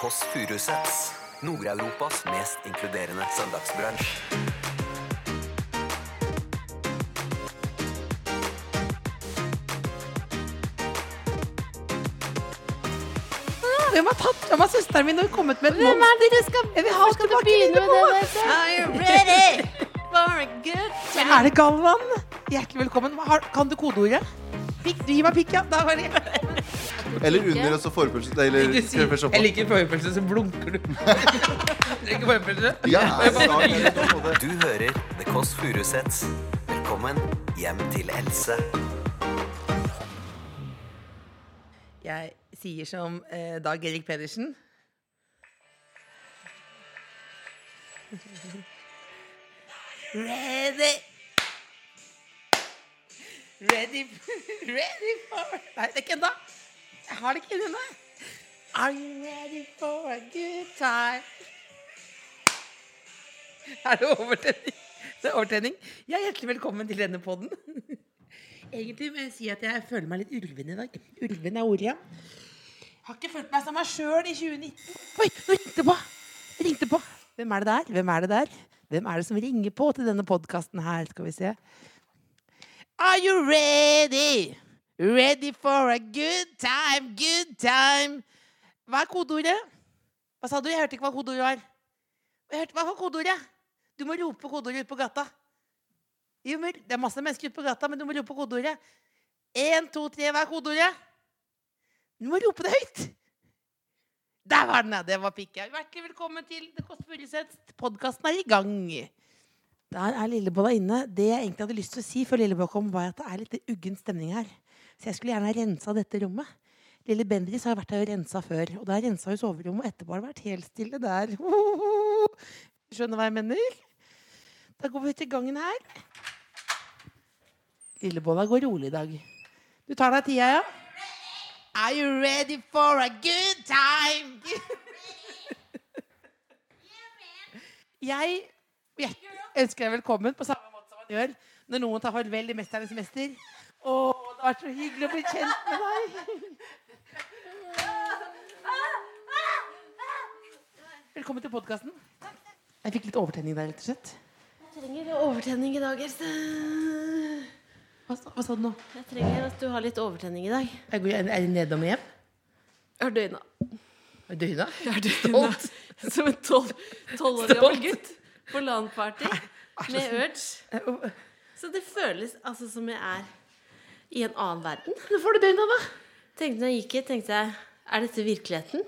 Kåss Furuseths. Nord-Europas mest inkluderende søndagsbransj. Hvem har tatt fra meg søsteren min og kommet med et Hvem er monster? det du skal, Jeg vil ha du skal tilbake begynne med? lillebånd. Det, vet du? Are you ready for a good Men Er det Galvan? Hjertelig velkommen. Hva Har, kan du kodeordet? Pikk, du gir meg pikk, ja. Da var det Eller under og så forpølse nei, Eller krøpelsoppa. Jeg liker forhøypelse, så blunker du. Liker forhøypelse. Ja, er det klart, er det på en måte. Du hører The Kåss Furuseths. Velkommen hjem til Else. Jeg sier som eh, Dag Erik Pedersen. Ready Ready Ready for Nei, det er ikke ennå. Jeg har det ikke ennå. Are you ready for a good time? Er det overtenning? Det er overtenning. Ja, hjertelig velkommen til denne podden. Egentlig må jeg si at jeg føler meg litt ulven i dag. Ulven er ordet, ja. Har ikke følt meg som meg sjøl i 2019. Oi, nå ringte det på! Det ringte på. Hvem er det der? Hvem er det der? Hvem er det som ringer på til denne podkasten her? Skal vi se. Are you ready? Ready for a good time, good time. Hva er kodeordet? Hva sa du? Jeg hørte ikke hva kodeordet var. Jeg hørte, hva var kodeordet? Du må rope kodeordet ut på gata. Jo, men Det er masse mennesker ute på gata, men du må rope kodeordet. Én, to, tre, hva er kodeordet? Du må rope det høyt. Der var den, ja. Det var pikk. ja. Hjertelig velkommen til Det Kåss Furuseth. Podkasten er i gang. Der er Lillebolla inne. Det jeg egentlig hadde lyst til å si før Lillebolla kom, var at det er litt uggen stemning her. Så jeg skulle gjerne ha rensa dette rommet. Lille Bendriss har vært her og rensa før. Og da rensa hun soverommet, og etterpå har det vært helt stille der. Skjønner hva jeg mener? Da går vi til gangen her. Lillebolla går rolig i dag. Du tar deg tida, ja? Are you ready for a good time? jeg hjertelig ønsker deg velkommen på samme måte som man gjør når noen tar farvel i 'Mesternes mester'. Å, det har vært så hyggelig å bli kjent med deg. Velkommen til podkasten. Jeg fikk litt overtenning der, rett og slett. Jeg trenger overtenning i dag, Else. Hva, sa- hva sa du nå? Jeg trenger at du har litt overtenning i dag. Er det nedom hjem? Jeg har døgna. Døgna? Jeg har døgna som en tolv år gammel gutt på LAN-party med urge. Så det føles altså som jeg er i en annen verden. Nå får du døgna, da. Tenkte når jeg gikk hit, tenkte jeg Er dette virkeligheten?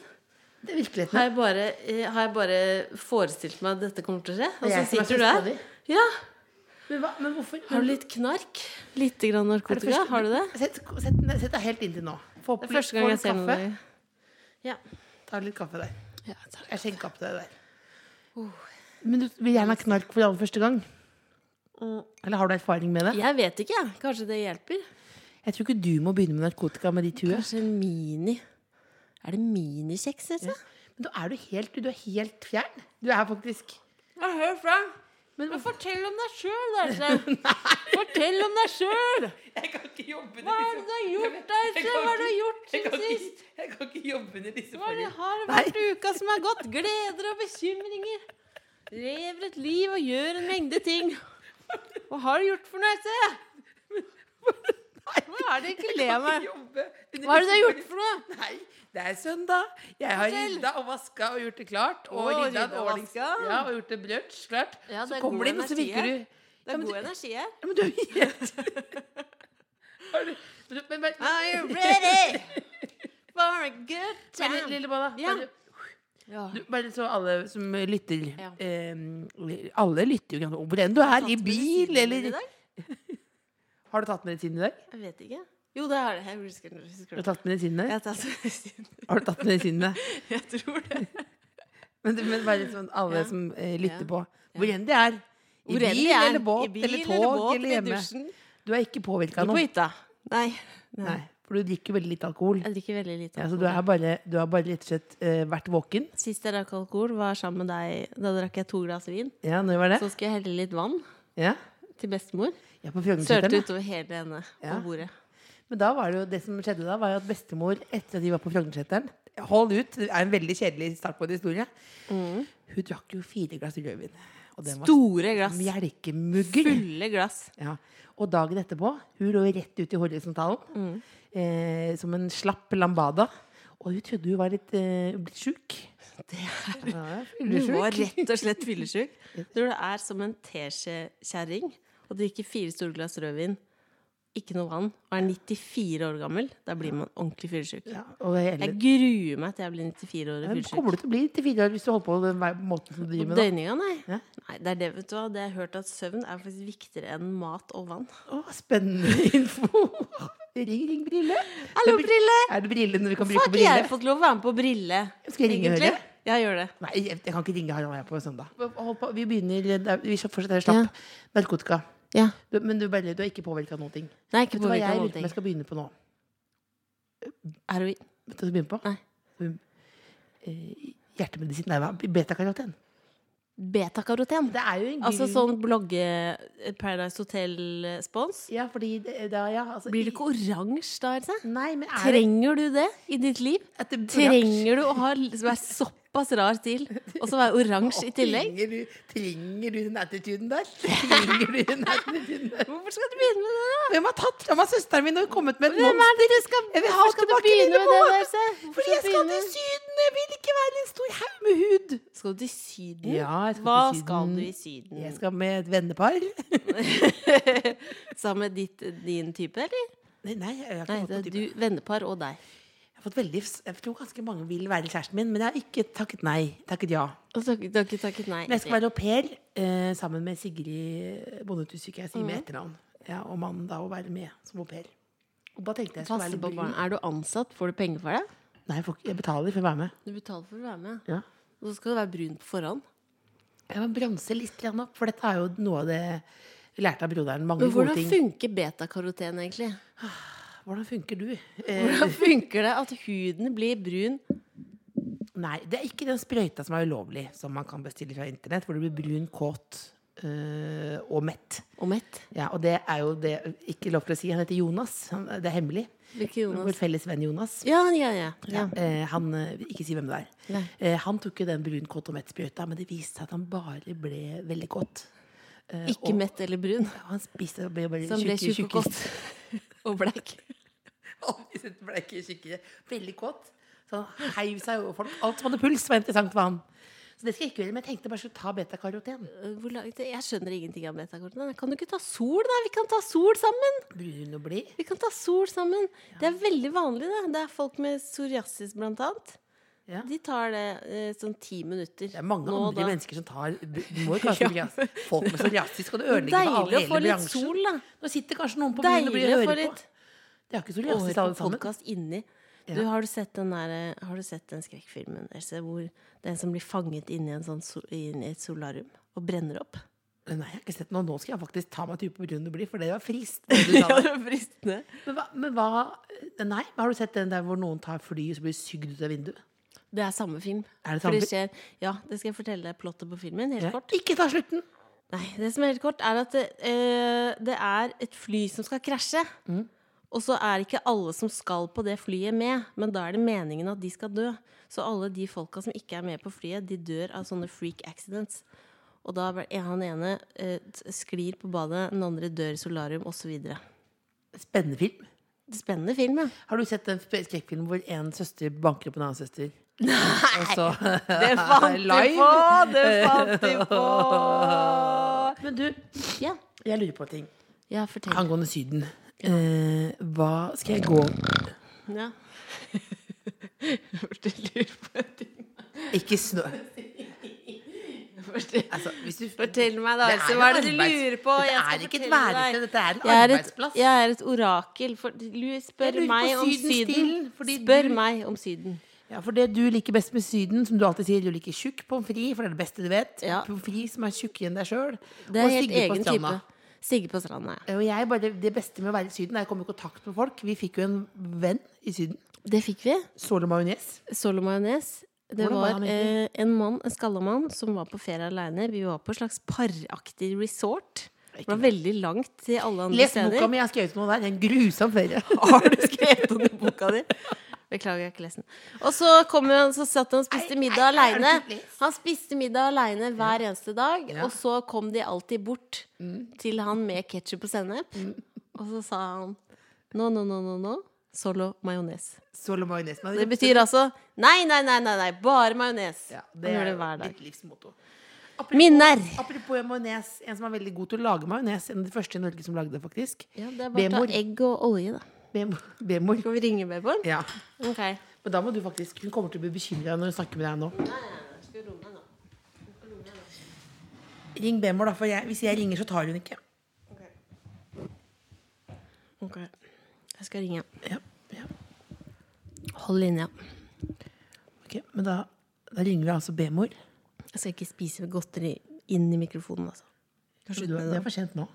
Det er virkeligheten. Har jeg bare, eh, har jeg bare forestilt meg at dette kommer til å skje? Og så jeg som er sitter du der. søstera Ja. Men, hva, men hvorfor? Har du litt knark? Lite grann Er det narkotika? første- Har du det? Sett, sett, den- sett deg helt inntil nå. Få opp Det er litt- få første gang jeg litt ser kaffe. noe Ja. Ta litt kaffe der. ja takk. Jeg skjenker opp til deg der. Oh. Men du vil gjerne ha knark for aller første gang? Mm. Eller har du erfaring med det? Jeg vet ikke, jeg. Kanskje det hjelper? Jeg tror ikke du må begynne med narkotika med ditt hue. Kanskje mini Er det minikjeks, heter det? Men da er du helt, du er helt fjern. Du er faktisk Ja, hør fra. Men fortell om deg sjøl, Else. Fortell om deg sjøl. Jeg kan ikke jobbe Hva er det du har gjort, Jeg Else? kan Hva har du ikke- gjort siden sist? Jeg kan ikke jobbe under disse Hva er det har vært uka som er gått? Gleder og bekymringer. Lever et liv og gjør en mengde ting. Hva har du gjort for noe, Else? Hva er det ikke le av meg? Hva er det du har gjort for noe? Nei, det er søndag. Jeg har Fortell. rydda og vaska og gjort det klart. Og Å, rydda rydda og og ordnings- vaska. Ja, og gjort det brunsj klart. Ja, det så er kommer god det inn, og så energi virker her. du Det Ja, er men god du- energi her. Ja, Men du er helt Har du- men du- Men, men, Are you ready for a good men time? lille Bolla, Ja. bare- Ja. du- bare så alle som lytter Ja. eh, Alle lytter jo grann, hvor enn du er, i bil eller Har du tatt medisin i dag? Jeg vet ikke. Jo, det har det. Jeg husker det. Husker Har du det. tatt medisin i dag? Jeg har tatt medisin. Har du tatt medisin i dag? Jeg tror det. Men, men bare sånn alle Ja. som eh, lytter Ja. på. Hvor enn de er. I Hvor enn bil de er, eller båt i bil eller eller tog eller, båt, i hjemme. dusjen. Du er ikke påvirka Ikke av på noe. hytta. Nei. Nei, for du drikker veldig lite alkohol. Jeg drikker veldig lite. Ja, så du har bare, du har bare rett og slett eh, vært våken. Sist jeg drakk alkohol, var sammen med deg. Da drakk jeg to glass vin. Ja, når var det? Så skulle jeg helle litt vann Ja, til bestemor. ja på Sølte Frognerseteren. utover hele henne Ja. på bordet. Men da var det jo det som skjedde da, var jo at bestemor etter at de var på Frognerseteren Hold ut. Det er en veldig kjedelig start på en historie. Hun drakk jo fire glass rødvin. Og den var Store glass. melkemugger. Fulle glass. Ja. Og dagen etterpå, hun lå rett ut i horisontalen eh, som en slapp lambada. Og hun trodde hun var litt eh, blitt sjuk. Det er Du var rett og slett fyllesyk. Tror du er som en teskjekjerring og drikker fire store glass rødvin, ikke noe vann, og er 94 år gammel. Da blir man ordentlig fyllesyk. Ja, og hele, Jeg gruer meg til jeg blir 94 år og Men kommer fyllesyk. du til å bli til fire år hvis du holder på den vei- måten som du driver med nå? Døgninga, nei. Hæ? nei. Det er det, vet du hva. Det jeg har hørt at søvn er faktisk viktigere enn mat og vann. Å, spennende info! Ring, ring, Brille. Hallo, Det er Brille! Er det brillene vi kan Hvorfor bruke har på ikke jeg brille? fått lov å være med på Brille? Skal jeg ringe egentlig? Høyre? Ja, gjør det. Nei, jeg, jeg kan ikke ringe Harald her på søndag. Hold på, vi begynner eh, der- Vi fortsetter slapp. Ja. Narkotika. Ja. Du, men du, Berle, du har ikke påvirka noen ting. Nei, ikke Vet du hva påvirket jeg av lurer noen på om ting. jeg skal begynne på nå? Heroin. Vet du hva jeg skal begynne på? Nei. Um, eh, Hjertemedisin. Nei, hva? Betakaroten. Betakaroten. Det er jo en Altså gul- sånn blogge Paradise Hotel-spons? Ja, fordi det, da, ja, altså, Blir du ikke oransje da, Else? Nei, men er det Trenger du det i ditt liv? at det- Trenger du å ha være såpass rar til, og så være oransje i tillegg? Trenger du, trenger du den attituden der? Trenger du den attituden der? Hvorfor skal du begynne med det, da? Hvem har tatt fra meg søsteren min og kommet med et Hvem er det du skal, Jeg vil ha hvorfor skal du tilbake begynne dine med det, da, barn. Else? Hvorfor Fordi jeg skal begynne? til Syden! Jeg vil ikke være en stor haug med hud! Skal du til Syden? Ja, jeg skal Hva til Syden. skal du i Syden? Jeg skal med et vennepar. Sammen med ditt, din type, eller? Nei, nei jeg, har ikke Nei, fått det noen er type. du, vennepar og deg. jeg har fått veldig Jeg tror ganske mange vil være kjæresten min, men jeg har ikke takket nei. Takket ja. Og så- Du har ikke takket nei? Men jeg skal være au pair eh, sammen med Sigrid Bondetus, ikke jeg sier med etternavn. Ja, og mannen da, å være med som au pair. Og da tenkte jeg jeg skulle være Passe litt på barn. brun. Er du ansatt? Får du penger for det? Nei, jeg, får, ikke- jeg betaler for å være med. Du betaler for å være med. Ja. Og så skal du være brun på forhånd. Jeg må bronse litt grann opp, for dette er jo noe av det jeg lærte av broderen. Mange Men gode hvordan ting. funker betakaroten egentlig? Hvordan funker du? Eh, Hvordan funker det at huden blir brun? Nei, det er ikke den sprøyta som er ulovlig, som man kan bestille fra internett, hvor du blir brun, kåt øh, og mett. Og mett. Ja, og det er jo det ikke lov til å si. Han heter Jonas. Han, det er hemmelig. Hvilken Vår Jonas? felles venn Jonas. Ja, ja, ja. ja. Eh, han, eh, vil ikke si hvem det er. Nei. Eh, han tok jo den brun, kåt og mett-sprøyta, men det viste seg at han bare ble veldig kåt. Ikke mett eller brun. Han spiste og ble bare Så han ble tjukk- tjukk og tjukkest. godt. Og blekk. Aldri sett bleike skikkere. Veldig kåt. Så han heiv seg over folk. Alt som hadde puls, var interessant for han. Så det skal jeg ikke gjøre, men jeg tenkte bare å ta betakaroten. Eh, hvor langt- Jeg skjønner ingenting av betakaroten. Kan du ikke ta sol, da? Vi kan ta sol sammen! Brun og blid. Vi kan ta sol sammen. Det er veldig vanlig, det. Det er folk med psoriasis, blant annet. Ja. De tar det eh, sånn ti minutter. Det er mange Nå og andre da. mennesker som tar Du må jo kanskje bli altså, Folk med psoriasis skal du ødelegge for alle Deilig å få hele litt bransjen. sol, da. Nå sitter kanskje noen på byen og Deilig blir å få hører på. litt De har ikke og psoriasis, høre alle på sammen. podkast inni. Du, Ja. har, du sett den der, eh, har du sett den skrekkfilmen Else, hvor det er en som blir fanget inni en sånn sol, inn i et solarium og brenner opp? Nei, jeg har ikke sett noe. Nå skal jeg faktisk ta meg en tur på brun og blid, for det var frist. det du sa Ja, der. det er fristende. Men hva, men hva Nei, har du sett den der hvor noen tar fly og så blir sugd ut av vinduet? Det er samme film. Er det For samme skjer, ja, det skal jeg fortelle deg plottet på filmen. Helt Ja. kort. Ikke ta slutten! Nei, det som er helt kort, er at det, eh, det er et fly som skal krasje. Og så er ikke alle som skal på det flyet med, men da er det meningen at de skal dø. Så alle de folka som ikke er med på flyet, de dør av sånne freak accidents. Og da er han ene eh, t- sklir på badet, den andre dør i solarium, osv. Spennende film. Spennende film, ja. Har du sett den sp- skrekkfilmen hvor en søster banker opp en annen søster? Nei! Og så, Det fant Live. de på! Det fant de på! men du, Ja, jeg lurer på en ting ja fortell. angående Syden. Eh, hva skal jeg gå Ja. Hørte lurer på en ting. Ikke snø... Fortell. Altså, hvis du Fortell meg, da, Det Else. er Hva er en det du arbeids- lurer på? Dette Jeg skal er ikke et fortelle deg. værested, dette er en Jeg er et, arbeidsplass. jeg er et orakel. For, du spør lurer på meg om Sydens Syden. stil, fordi Spør du- meg om Syden. Ja, For det du liker best med Syden, som du alltid sier, du liker tjukk pommes frites, for det er det beste du vet. Ja. Pommes frites som er tjukkere enn deg sjøl. Det er helt egen type. Sigge på stranda, ja. Og jeg bare, Det beste med å være i Syden er å komme i kontakt med folk. Vi fikk jo en venn i Syden. Det fikk vi. Solo majones. Solo majones. Det Hvordan var var han eh, egentlig? en mann, en skalla mann, som var på ferie aleine. Vi var på et slags paraktig resort. Det var veldig langt til alle andre Les steder. boka mi, jeg har skrevet noe der. En grusom ferie. Har du skrevet om det i boka di? Beklager, jeg har ikke lest den. Og så, kom han, så satt han og spiste middag aleine. Han spiste middag aleine hver eneste dag. Og så kom de alltid bort til han med ketsjup og sennep. Og så sa han no, no, no, no, no. Solo majones. Solo majones. Det betyr altså nei, nei, nei, nei, nei bare majones. ja, Han gjør det hver mitt dag. livsmotto. Minner. Apropos majones, en som er veldig god til å lage majones, en av de første i Norge som lagde det, faktisk. Ja, det er bare å Bemor. ta egg og olje, da. Bemo- Bemor. Skal vi ringe Bemor? Ja. Ok. Men da må du faktisk Hun kommer til å bli bekymra når hun snakker med deg nå. Ring Bemor, da, for jeg, hvis jeg ringer, så tar hun ikke. Ok. Jeg skal ringe. Ja, ja. Hold linja. Ok, Men da, da ringer vi altså Bemor. Jeg skal ikke spise godteri inn i mikrofonen, altså. Kanskje du det er for sent nå.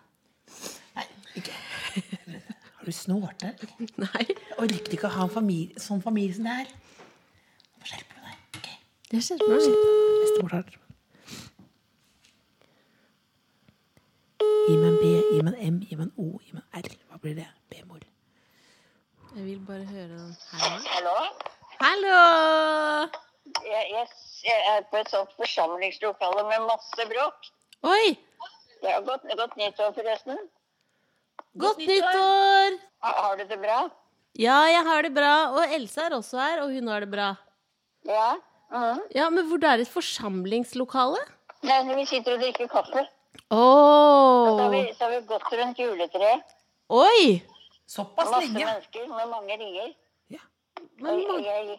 Nei, ikke. Har du snorte? Nei. Jeg orker ikke å ha en familie, sånn familie som det er. Nå skjerper du deg. Ok, Det skjer bra. skjer. Bestemor tar. Gi meg en B, gi meg en M, gi meg en O, gi meg en R. Hva blir det? B-mor. Jeg vil bare høre den her. Hallo? Hallo! Jeg, jeg, jeg er på et sånt forsamlingslokale med masse bråk. Oi! Det har gått, gått nyttår, forresten. Godt nyttår! Har, har du det bra? Ja, jeg har det bra. Og Elsa er også her, og hun har det bra. Ja? Mhm. Ja, men hvor det er et forsamlingslokale? Nei, når vi sitter og drikker kaffe, så har Åh! vi, så har vi gått rundt juletreet. Oi! Såpass Masse lenge? mennesker med mange ringer. Men, Og jeg, jeg,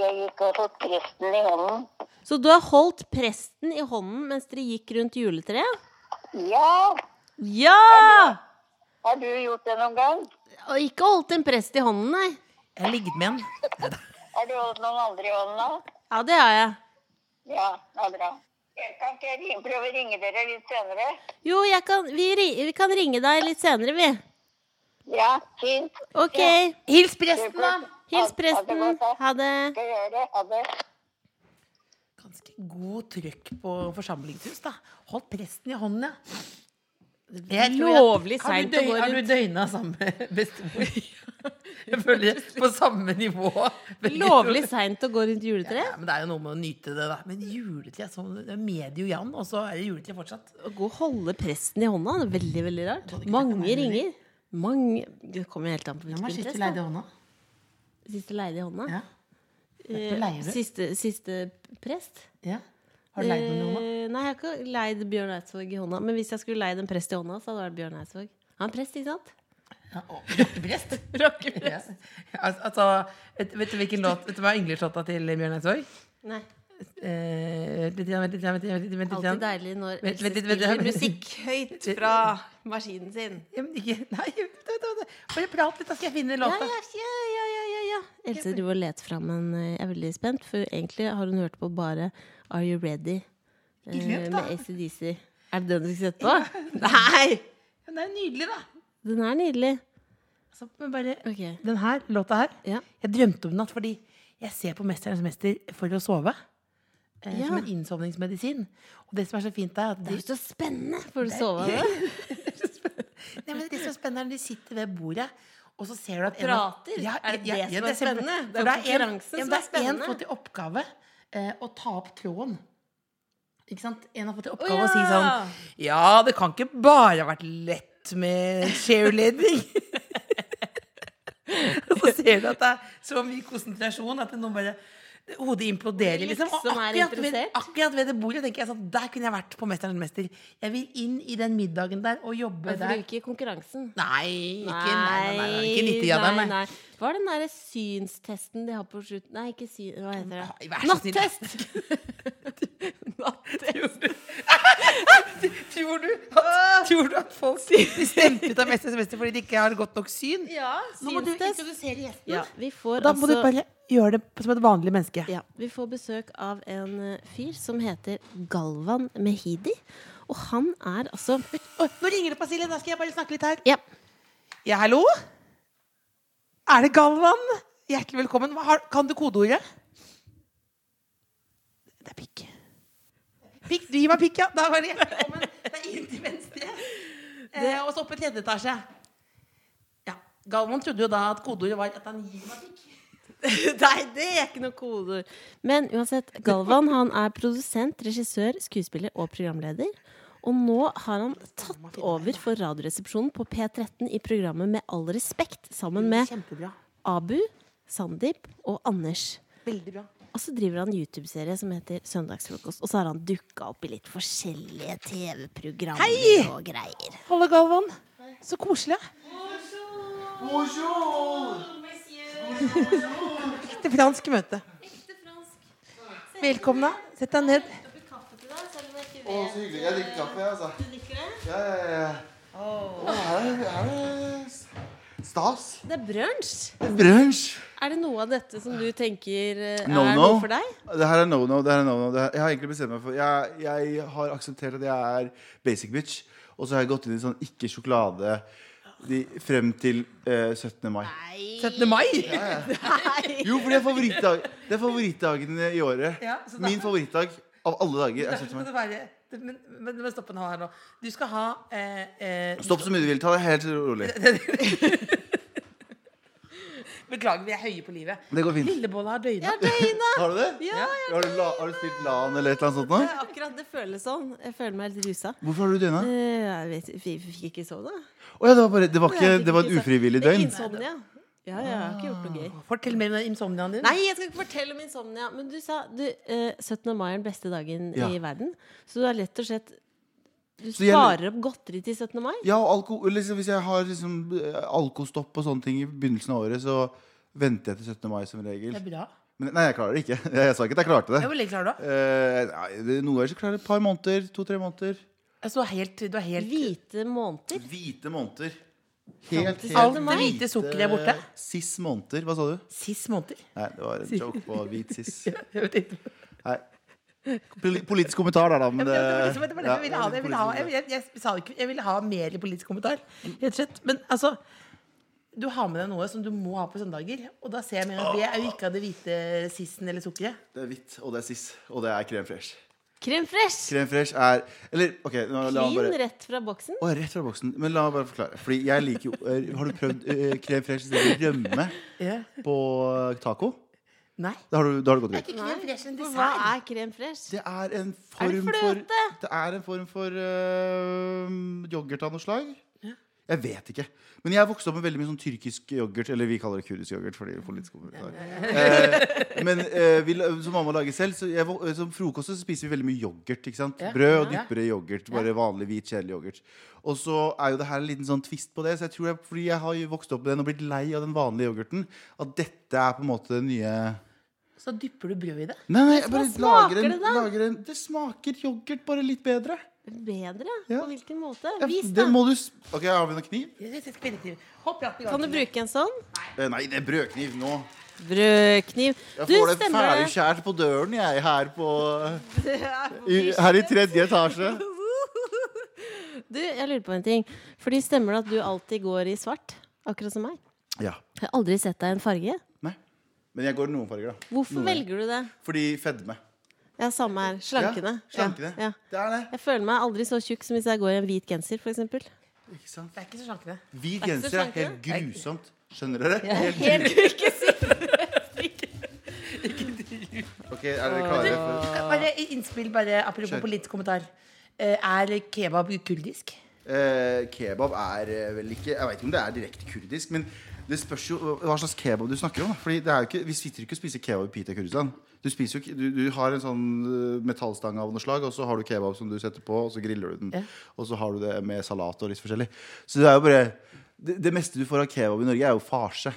jeg gikk og holdt presten i hånden. så du har holdt presten i hånden mens dere gikk rundt juletreet? Ja! Ja! Har du gjort det noen gang? Og ikke holdt en prest i hånden, nei. Jeg har ligget med en. Har du holdt noen andre i hånden òg? Ja, det har jeg. Ja, det er bra. Jeg kan ikke jeg ringe- prøve å ringe dere litt senere? Jo, jeg kan, vi, ri- vi kan ringe deg litt senere, vi. Ja, fint. Ok. Hils presten, da! Hils presten. Ha det godt, da. Ha det. Skal gjøre det. Ha det. Ganske god trykk på forsamlingshus, da. Holdt presten i hånden, ja. er lovlig seint å gå rundt. Har du rundt. døgna samme bestemor? Jeg føler på samme nivå. Begge to. Lovlig seint å gå rundt juletreet. Ja, men det er jo noe med å nyte det, da. Men juletre er sånn Det er medio Jan, og så er det juletre fortsatt. Å gå og holde presten i hånda, det er veldig, veldig rart. Mange ringer. Mange Det kommer jo helt an på Hvem hvilken er prest. siste da. leide hånda? Siste leide i hånda. Eh, Ja. Dette leier du? Siste, siste prest. ja. Har du leid noen i hånda? Eh, Nei, jeg har ikke leid Bjørn Eidsvåg i hånda. Men hvis jeg skulle leid en prest i hånda, så hadde det vært Bjørn Eidsvåg. Han er prest, ikke sant? Ja, og rockeprest. ja. Al- Altså, vet, vet du hvilken låt Vet du hva er yndlingslåta til Bjørn Eidsvåg? Nei. Eh, vent litt, igjen, vent litt, igjen, vent litt, igjen, vent litt, vent litt. igjen. Alltid deilig når Vent, Else vent litt, vent litt. spiller musikk høyt fra maskinen sin. Ja, men ikke- Nei, vent, vent, vent, vent. bare prat litt, da skal jeg finne Ja, låta. ja, ja, ja, ja, ja, ja. Else driver og leter fram en eh, Jeg er veldig spent, for egentlig har hun hørt på bare Are You Ready eh, løp, med da. ACDC. Er det den du skal sette på? Nei! Ja, Den er jo nydelig, da. Den er nydelig. Altså, men bare, Ok. Den her, låta her, Ja. jeg drømte om den i natt fordi jeg ser på 'Mesterens mester' for å sove. Eh, Ja. Som en innsovningsmedisin. Og det som er så fint, er at Det de, er så spennende! Får du sove av det? Nei, men det som er spennende, er når de sitter ved bordet, og så ser du at prater. Er det det som er kjempe- spennende? For Det er en, konkurransen ja, men som det er en spennende. fått i oppgave eh, å ta opp tråden. Ikke sant? En har fått i oppgave Å, å si sånn ja. Ja, det kan ikke bare ha vært lett med cheerleading. Og så ser du at det er så mye konsentrasjon at noen bare Hodet imploderer, liksom. Og Liksom er akkurat ved, interessert. akkurat ved det bordet tenker jeg sånn Der kunne jeg vært på Mesterens mester. Jeg vil inn i den middagen der og jobbe For der. du ikke i konkurransen. Nei, ikke, nei, nei, nei, nei, ikke 90 av nei, dem. nei. nei. Hva er den derre synstesten de har på slutten Nei, ikke syn... Hva heter det? Vær så snill. Nattest! Nattest. Tror du at, tror du at folk blir stemt ut av Mesternes mester fordi de ikke har godt nok syn? Ja, synstest. Ja, vi får Da må du altså- bare gjøre det som et vanlig menneske. Ja, Vi får besøk av en eh, fyr som heter Galvan Mehidi. Og han er altså Å, nå ringer det, Basilien. Da skal jeg bare snakke litt her. Ja, Ja, hallo? Er det Galvan? Hjertelig velkommen. Hva har, kan du kodeordet? Det er pikk. Pikk, Du gir meg pikk, ja. Da var det hjertelig velkommen. Det er inn til venstre. Eh, og så opp i tredje etasje. Ja, Galvan trodde jo da at kodeordet var at han gir meg pikk. Nei, det er ikke noe kodeord. Men uansett, Galvan han er produsent, regissør, skuespiller og programleder. Og nå har han tatt over for Radioresepsjonen på P13 i programmet Med all respekt, sammen med Kjempebra. Abu, Sandeep og Anders. Veldig bra. Og så driver han en YouTube-serie som heter Søndagsfrokost. Og så har han dukka opp i litt forskjellige TV-programmer og greier. Hallo, Galvan. Så koselig. Ekte fransk møte. Velkomne. Sett deg ned. Å, så hyggelig. Jeg drikker kaffe, jeg, altså. Ja, ja, ja. Å, her er det- her er det stas. Det er brunsj. Brunsj. Er det noe av dette som du tenker eh, er No, no. noe for deg? Det her er no no. det her er no no det her, Jeg har egentlig bestemt meg for jeg, jeg har akseptert at jeg er basic bitch. Og så har jeg gått inn i sånn ikke sjokolade de, frem til eh, 17. mai. 17. mai! Jo, for det er, favorittdag, det er favorittdagen i året. Ja, så da- Min favorittdag av alle dager er 17. Derfor må mai. det være det- Men, men, men stopp nå her nå. Du skal ha eh, eh, Stopp så mye du vil. Ta det helt rolig. Beklager, vi er høye på livet. Det går fint. Lillebolla har døgna. Har du det? Har, du la, har du spilt LAN eller et eller annet sånt nå? Ja, Akkurat det føles sånn. Jeg føler meg litt rusa. Hvorfor har du døgna? Eh, Jeg vet, vi fikk ikke sove, da. Å ja, det var, bare, det var, ikke, Jeg fikk det var ikke et sove. ufrivillig Det er døgn. Insomnia. Ja, ja, jeg har ikke gjort noe gøy. Fortell mer om den insomniaen din. Nei, jeg skal ikke fortelle om insomnia. Men du sa du, eh, 17. mai er den beste dagen Ja. i verden. Så du har lett og slett Du jeg- sparer opp godteri til 17. mai? Ja, og alko, liksom, hvis jeg har liksom, eh, alkostopp og sånne ting i begynnelsen av året, så venter jeg til 17. mai som regel. Det er bra. Men, nei, jeg klarer det ikke. Jeg sa ikke at jeg klarte det. Ja, Hvor lenge klarer du da? Eh, nei, det- noen ganger så klarer jeg et par måneder. To-tre måneder. Altså, du er helt, du er helt Hvite måneder? Hvite måneder. Helt, Alt helt det hvite sukkeret er borte. Siss måneder. Hva sa du? Sist måneder. Nei, det var en joke på hvit siss. Jeg vet ikke. Nei. Poli- Politisk kommentar der, da. Men Ja, men det var liksom- det, det var det jeg ville ha. ja, Jeg ville ha, jeg, jeg, jeg sa jo ikke, jeg ville ha mer i politisk kommentar, rett og slett. Men altså du har med deg noe som du må ha på søndager. Og da ser jeg med en gang at det er jo ikke av det hvite sissen eller sukkeret. det er hvitt, og det er siss. Og det er krem fresh. Krem fresh! Krem fresh er Eller OK, nå, la meg bare Clean rett fra boksen. Å, rett fra boksen. Men la meg bare forklare. Fordi jeg liker jo eh, Har du prøvd uh, krem fresh istedenfor rømme Ja. på taco? Nei. Da har du, da har du gått glipp. Nei, for hva er krem fresh? Det er en Er det form for fløte? Det er en form for eh, yoghurt av noe slag. Jeg vet ikke. Men jeg vokste opp med veldig mye sånn tyrkisk yoghurt. Eller vi kaller det kurdisk yoghurt. Fordi det er politisk kommentar. Eh, men eh, vi, la- som mamma lager selv, så jeg, vo- eh, som frokost så spiser vi veldig mye yoghurt. ikke sant? Brød og dypper i yoghurt. Bare vanlig hvit, kjedelig yoghurt. Og så er jo det her en liten sånn twist på det. Så jeg tror jeg, fordi jeg har jo vokst opp med den og blitt lei av den vanlige yoghurten, at dette er på en måte den nye Så dypper du brød i det. Nei, nei, jeg bare lager en, smaker det da? lager en Det smaker yoghurt, bare litt bedre. Bedre? Ja. På hvilken måte? Ja, Vis, det da. må du s- Ok, Har vi noen kniv? Hopp rett i gang. Kan du bruke en sånn? Eh, nei, det er brødkniv nå. Brødkniv. Jeg Du, får det stemmer det? ferdigskjært på døren, jeg, her på i, Her i tredje etasje. Du, jeg lurer på en ting. Fordi stemmer det at du alltid går i svart? Akkurat som meg. Ja. Jeg har aldri sett deg i en farge. Nei. Men jeg går i noen farger, da. Hvorfor velger du det? Fordi fedme. Ja, samme her. Slankene. Ja, slankene. Ja, ja. Det er det. Jeg føler meg aldri så tjukk som hvis jeg går i en hvit genser, for eksempel. Ikke sant? Det er ikke så slankende. Det Hvit er ikke så genser er helt grusomt. Skjønner dere? Helt grusomt. Ok, er dere klare? For, Bare innspill, bare apropos Kjør. politisk kommentar. Eh, Er kebab kurdisk? Eh, kebab er eh, vel ikke Jeg vet ikke om det er direkte kurdisk, men det spørs jo hva hva slags kebab du snakker om. Da. Fordi det er jo ikke, Vi sitter jo ikke og spiser kebab i Pita Kurdistan. Du, spiser jo, ikke- du, du har en sånn eh, metallstang av noe slag, og så har du kebab som du setter på, og så griller du den. Og så har du det med salat og litt forskjellig. Så det er jo bare Det, det meste du får av kebab i Norge, er jo farse.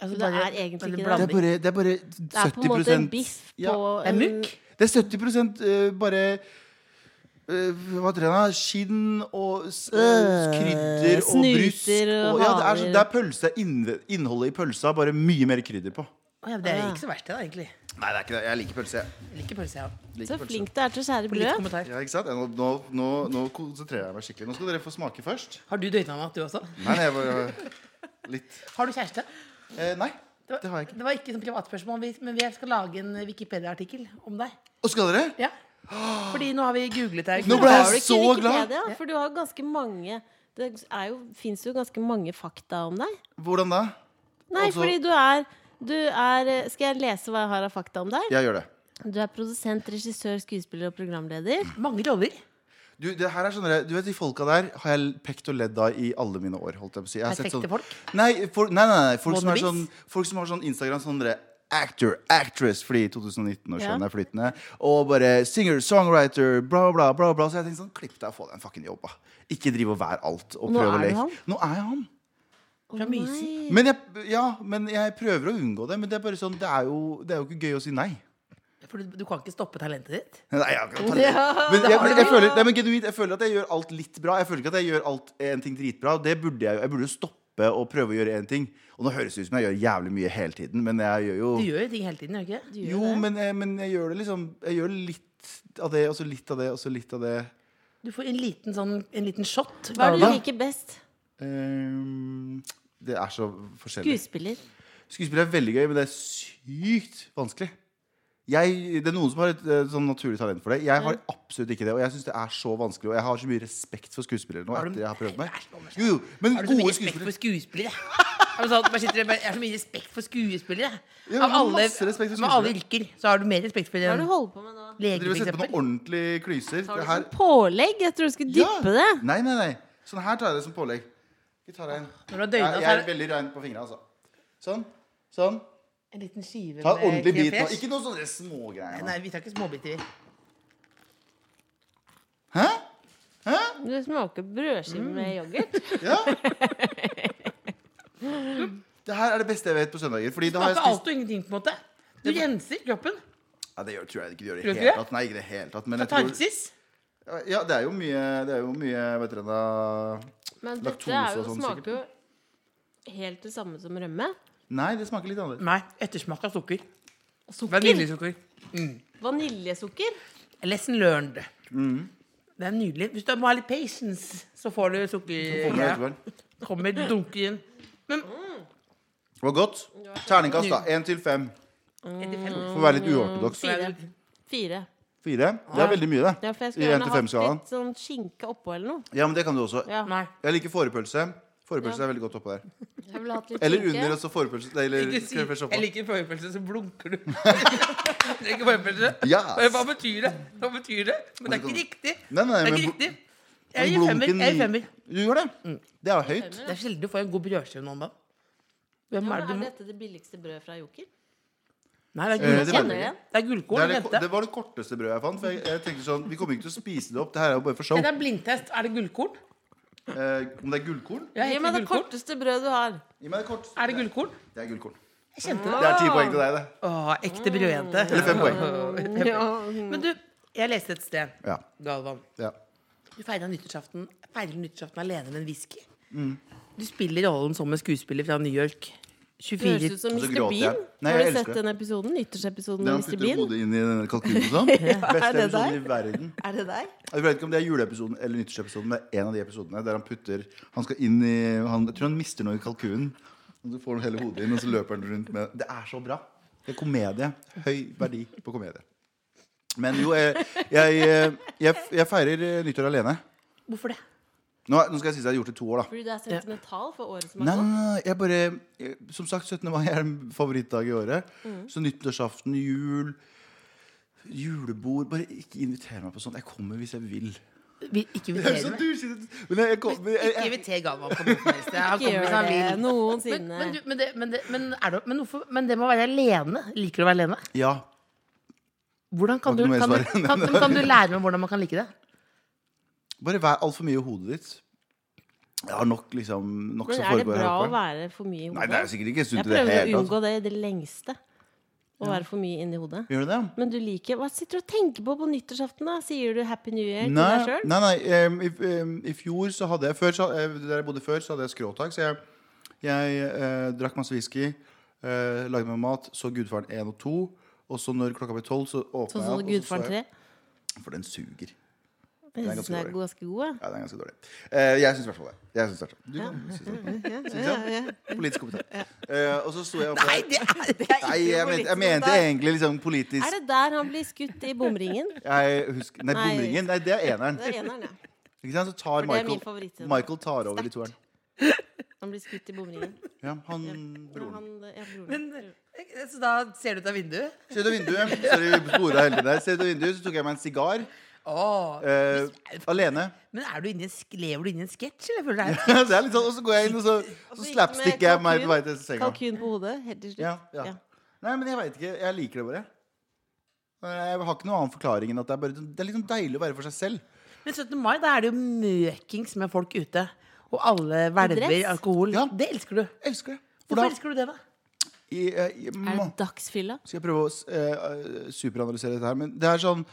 Altså, Det er egentlig bare ikke det. Det blanding. er bare, det er bare 70 Det er på en måte en biff på Ja. Det er Mm. mukk. Det er 70 eh, bare eh, hva heter det da? Skinn og s- eh, krydder og snuter brusk. Øh, og Og, ja, det er, så- haler. det er pølse, innve- innholdet i pølsa, bare mye mer krydder på. Å, ja, det Ah. er ikke så verst, det, da, egentlig. Nei, det er ikke det. Jeg liker pølse. jeg. Jeg liker pølse, jeg òg. Jeg liker Så pølse. flink du er til å skjære Politisk brød. kommentar. Ja, ikke sant? Ja, Nå, nå, nå, nå konsentrerer jeg meg skikkelig. Nå skal dere få smake først. Har du døgna natt, du også? Nei, nei, jeg bare litt Har du kjæreste? eh, Nei, var, det har jeg ikke. Det var ikke sånn privatspørsmål, vi- men vi skal lage en Wikipedia-artikkel om deg. Og skal dere? Ja. Fordi nå har vi googlet deg. Nå ble Har du jeg ikke så glad! Wikipedia? For du har ganske mange Det fins jo ganske mange fakta om deg. Hvordan da? Nei, Altså- fordi du er Du er, skal jeg lese hva jeg har av fakta om deg? Jeg gjør det. Du er produsent, regissør, skuespiller og programleder. Mange roller. Du, det her er sånn der- du vet, De folka der har jeg pekt og ledd av i alle mine år. Holdt jeg på å si. Jeg har sett Perfekte sånn, folk. Nei, for, nei, nei, nei folk, som er Wannabes? sånn, folk som har sånn Instagram sånn derre Actor, actress, fordi 2019 og skjønn Ja. er flytende. Og bare singer, songwriter, bla, bla, bla. bla Så jeg tenkte sånn, klipp deg og få deg en fucking jobb, da. Ikke drive og være alt. Og Nå prøve å er du leke. han? Nå er jeg han. Å, nei. Men jeg, ja, men jeg prøver å unngå det. Men det er bare sånn, det er jo, det er jo ikke gøy å si nei. For du, du kan ikke stoppe talentet ditt. Nei, jeg har ikke noe talent. Men jeg, men jeg, føler, nei, men genuint, jeg føler at jeg gjør alt litt bra. Jeg føler ikke at jeg gjør alt en ting dritbra. Det burde jeg, jo- jeg burde jo stoppe og prøve å gjøre én ting. Og nå høres det ut som jeg gjør jævlig mye hele tiden, men jeg gjør jo Du gjør jo ting hele tiden, gjør du ikke? Du gjør Jo, det. men jeg, men jeg gjør det liksom Jeg gjør litt av det, og så litt av det, og så litt av det. Du får en liten, sånn, en liten shot. Hva er det Hva? du liker best? Ehm, det er så forskjellig. Skuespiller. Skuespill er veldig gøy, men det er sykt vanskelig. Jeg, det er noen som har et eh, sånn naturlig talent for det. Jeg har absolutt ikke det. Og jeg syns det er så vanskelig. Og jeg har så mye respekt for skuespillere nå. etter jeg har prøvd meg Jo, jo, men Har du så mye gode respekt skuespillere for skuespillere? Er det sånn at man sitter og bare- Jeg har så mye respekt for skuespillere. Ja, Av jeg har alle, masse respekt for med alle skuespillere. yrker så har du mer respekt for Hva er det en du holder på med nå? lege, Dere vil sette på noen f.eks. ordentlige Tar klyser. du Det som her- pålegg? Jeg tror du skulle dyppe det. Nei, nei, nei. Sånn her tar jeg det som pålegg. Vi tar en. Når du har døgnet, Jeg, jeg er så er det veldig rein på fingrene, altså. Sånn. Sånn. en liten skive Ta en ordentlig bit nå. creme fraiche. Ikke sånn noen sånne smågreier. nå. Nei, vi tar ikke småbiter, vi. Hæ? Hæ? Du smaker brødskive med Mm. yoghurt. Ja. Det her er det beste jeg vet på søndager. Fordi da har jeg Smaker spist alt og ingenting, på en måte. Du renser kroppen. Ja, det gjør, tror jeg ikke du gjør Tror du i det ikke hele det? tatt. Nei, ikke i det hele tatt. Men jeg tror, Katarsis. ja, det er jo mye, det er jo mye vet dere, da, Men Laktose dette er jo, og sånn, smaker jo helt det samme som rømme. Nei, det smaker litt annerledes. Nei, ettersmak av sukker. Sukker. Vaniljesukker. Vaniljesukker. Lesson learned. Mm. Det er nydelig. Hvis du må ha litt patience, så får du sukker... Kommer det etterpå? Kommer, dunker inn. Det var godt. Terningkast, da. Én til fem. For å være litt uortodoks. Mm. Fire. Fire. Fire? Det er veldig mye, det. Ja, for jeg I skulle gjerne hatt NT5-skalaen. litt sånn skinke oppå eller noe. Ja, men det kan du også. Ja. Nei. Jeg liker fårepølse. Fårepølse Ja. er veldig godt oppå der. Jeg ville hatt litt Eller skinke. under, altså fårepølse nei, eller Ikke si, skrevfels jeg oppå. liker forpølse, så blunker du. Jeg liker forpølse. Yes. Hva betyr det? Hva betyr det? Men det er ikke riktig. Nei, nei, Det er men ikke bl- riktig. Mm. Jeg gir femmer. blunken- Jeg gir femmer. Du gjør det? Det er jo høyt. Eh, Det er sjelden du får en god brødskive noen gang. Hvem Ja, er det men du er må dette det billigste brødet fra Joker? Nei, det er Eh, det var- gullkorn. Kjenner du igjen? Det er Det, er gullkorn. det, vent da. det var det korteste brødet jeg fant. For jeg, jeg tenkte sånn, Vi kommer ikke til å spise det opp. Det her er jo bare for show. Det er blindtest. Er det gullkorn? Eh, om det er gullkorn? Ja, Gi heter meg det det gullkorn? korteste brødet du har. Gi meg det kort. Er det gullkorn? Det er gullkorn. Jeg kjente det. Det er ti poeng til deg, det. Å, ekte brødjente. Eller fem poeng. Men du, jeg leste et sted, Ja, Galvan. ja. Du feira nyttårsaften, feirer nyttårsaften alene med en whisky. Mm. Du spiller rollen som en skuespiller fra New York. Det høres 24 ut som Og så Mr. gråter jeg. Bean. Nei, har jeg du elsker sett det. den episoden? Nyttårsepisoden Det med han Mr. putter Bean? hodet inn i denne kalkunen og sånn. Beste det episoden i verden. Er det deg? Jeg vet ikke om det er juleepisoden eller nyttårsepisoden. Det er en av de episodene der han putter Han skal inn i han, Jeg tror han mister noe i kalkunen. Og så får han hele hodet inn, og så løper han rundt med Det er så bra. Det er komedie. Høy verdi på komedie. Men jo, jeg, jeg, eh, jeg, jeg feirer eh, nyttår alene. Hvorfor det? Nå, nå skal jeg si at jeg har gjort det i to år, da. Fordi du er sentimental for året som sånn. Nei, har nei, gått? nei, nei, jeg bare jeg, Som sagt, 17. mai er en favorittdag i året. Så nyttårsaften, jul, julebord Bare ikke inviter meg på sånt. Jeg kommer hvis jeg vil. Vi ikke Det er inviterer så meg. dusj, men jeg, jeg, kom- men jeg, Ikke jeg, inviter Galvan på noe som helst. Han Ikke kommer hvis gjør han det vil. Men, noensinne. men, du, men, det, men, det, men, er det, men, hvorfor, men det må være alene. Liker du å være alene? ja. Hvordan kan, Har du, ikke noe mer kan, du, svar kan, enn men kan du lære meg hvordan man kan like det? Bare vær altfor mye i hodet ditt. Jeg har nok liksom nok Men som er det foregår her bra å oppe. være for mye i Nei, det hodet? er sikkert ikke sunt Jeg i det prøver å hele tatt. unngå det i det lengste. Å være for mye inni hodet. Gjør du det? Men du liker Hva sitter du og tenker på på nyttårsaften, da? Sier du 'Happy New Year' til deg Nei, sjøl? nei, nei em, i, em, i fjor så hadde jeg før, så, eh, Der jeg bodde før, så hadde jeg skråtak. Så jeg, jeg eh, drakk masse whisky, eh, lagde meg mat, så Gudfaren 1 og 2. Og så når klokka ble 12, så Sånn åpna jeg som opp, og så så Gudfaren jeg- 3? For den suger. Jeg er syns ganske den er dårlig. ganske god. jeg. Ja, den er ganske dårlig. Eh, jeg syns i hvert fall det. sånn. Jeg synes i hvert fall. Du syns det. Syns jeg? Politisk kompetent. Eh, og så sto jeg oppe Nei, Det er, det er Nei, jeg mente, jeg mente egentlig liksom politisk Er det der han blir skutt i bomringen? jeg husker, Nei, Nei. bomringen. Nei, det er eneren. Det er eneren, ja. Ikke sant? Så tar det er min Michael favorittscene. Michael tar over i toeren. Han blir skutt i bomringen. Ja, han Ja, broren. han- ja, broren. Men, så da ser du ut av vinduet. Se ut av vinduet. Sorry, vi sporet heldig der. Se ut av vinduet, så tok jeg meg en sigar. Åh. eh, alene. Men er du inne i en, sk- lever du inne i en sketsj, eller føler du deg det er litt sånn, Og så går jeg inn, og så, Og så gikk så det med slapsticker jeg meg på vei til kalkun- senga. Kalkun på hodet, helt til slutt. Ja, ja. Nei, men jeg veit ikke. Jeg liker det bare. Jeg har ikke noen annen forklaring enn at det er, bare, det er liksom deilig å være for seg selv. Men 17. mai, da er det jo møkings med folk ute. Og alle hvelver dress? alkohol. Ja. Det elsker du. Jeg elsker det. For Hvorfor da, elsker du det, da? i, eh, i, Er må, det dagsfylla? skal jeg prøve å eh, superanalysere dette her, men det er sånn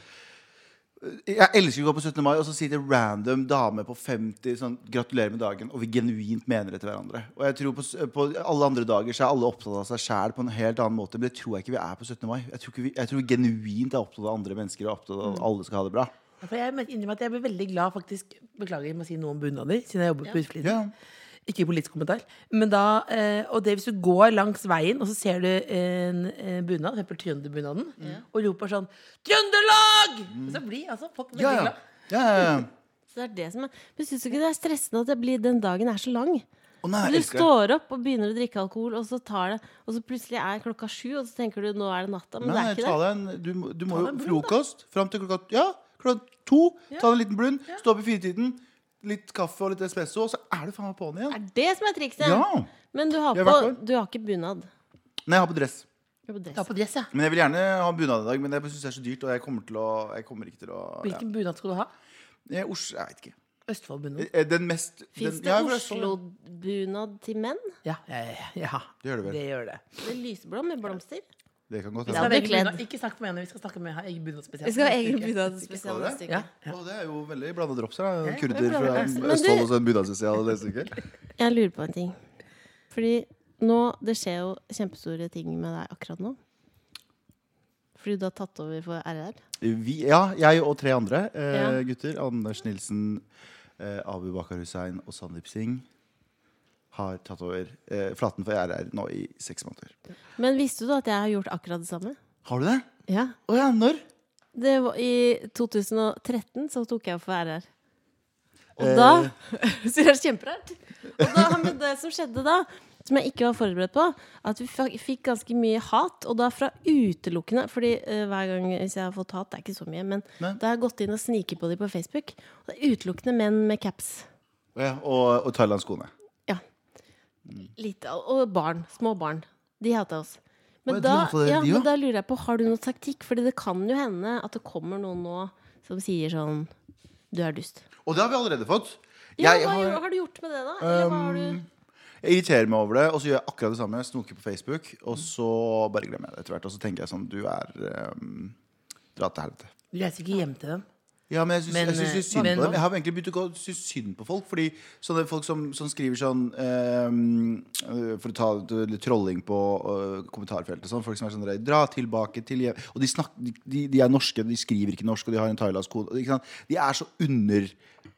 jeg elsker å gå på 17. mai, og så sitter random dame på 50 sånn, 'Gratulerer med dagen', og vi genuint mener det til hverandre. Og jeg tror på, s- på alle andre dager så er alle opptatt av seg sjæl på en helt annen måte. Men det tror jeg ikke vi er på 17. mai. Jeg tror, ikke vi, jeg tror vi genuint er opptatt av andre mennesker, og opptatt av at alle skal ha det bra. Ja, For jeg innrømmer at jeg blir veldig glad, faktisk. Beklager, jeg må si noe om bunader, siden jeg jobber på Utflid. Ja. Ikke politisk kommentar. Men da, eh, og det hvis du går langs veien, og så ser du en eh, bunad, f.eks. trønderbunaden, og roper sånn 'Trøndelag!' Så blir altså folk veldig Ja, ja. glad. ja, ja, ja. Så det er det som er. Men syns du ikke det er stressende at det blir, den dagen er så lang? Å nei, Du jeg elsker det. står opp og begynner å drikke alkohol, og så tar det Og så plutselig er klokka sju, og så tenker du nå er det natta. Men Nei, det er ta ikke det. deg en, du, må- du må jo frokost fram til klokka Ja, klokka to. Ta deg en liten blund. Stå opp i firetiden. Litt kaffe og litt espresso, og så er du faen meg på'n Det igjen. er det som er trikset. Ja. Men du har, Jeg på, har vært der. du har ikke bunad. Nei, jeg har på dress. Du har på dress. Ja, på dress, ja. Men jeg vil gjerne ha bunad i dag, men jeg syns det er så dyrt, og jeg kommer, til å, jeg kommer ikke til å ja. Hvilken bunad skal du ha? Jeg, Oslo, jeg vet ikke. Østfoldbunad. Eh, Den mest Fins den, det ja, jeg sånn- vil ha Østfold. Oslo-bunad til menn? Ja, ja, ja, ja. Det gjør det vel. Det gjør det. Det er lyseblå med blomster? Det kan godt Vi Ja, skal ha hende. det er egen kledd. bunad. Ikke snakk med henne, vi skal snakke med egen bunad spesielt. Vi skal ha egen Neste uke. bunad Skal spesial dere? neste uke. Ja, ja. Å, det er jo veldig blanda drops her. da. det Kurder er fra blandet drops. Men du- Østfold og så en bunadsosial neste uke. Jeg lurer på en ting. Fordi nå Det skjer jo kjempestore ting med deg akkurat nå. Fordi du har tatt over for RR. Vi, ja, jeg og tre andre eh, Ja. gutter, Anders Nilsen, eh, Abu Bakar Hussein og Sandeep Singh, har tatt over eh, flaten for RR nå i seks måneder. Men visste du at jeg har gjort akkurat det samme? Har du det? Ja. Å ja, når? Det var I 2013 så tok jeg for RR. Og Eh. da Så det er kjemperart. Og da, men det som skjedde da, som jeg ikke var forberedt på, at vi fa- fikk ganske mye hat, og da fra utelukkende Fordi eh, hver gang hvis jeg har fått hat, det er ikke så mye, men Nei. da har jeg gått inn og sniket på dem på Facebook, og det er utelukkende menn med caps. Å ja, og, og thailandsk kone. Ja. Mm. Litt, og barn. Små barn. De hata oss. Men, Å, de da, hatet ja, de men også? da lurer jeg på, har du noen taktikk? Fordi det kan jo hende at det kommer noen nå som sier sånn Du er dust. Og det har vi allerede fått. Ja, Jeg hva har- Um, har, har du gjort med det, da? Eller hva har du Jeg irriterer meg over det, og så gjør jeg akkurat det samme. Jeg Snoker på Facebook, og så bare glemmer jeg det etter hvert. Og så tenker jeg sånn Du er ehm, Dra til helvete. Du reiser ikke hjem til dem. Ja, men jeg syns Men, jeg syns litt eh, synd men- på dem. Jeg har egentlig begynt å gå- synes synd på folk. Fordi sånne folk som, som skriver sånn ehm, øh, For å ta ut litt trolling på øh, kommentarfeltet. Sånn, folk som er sånn der, Dra tilbake til hjem Og de, snak, de, de er norske, de skriver ikke norsk, og de har en thailandsk kode. Ikke sant? De er så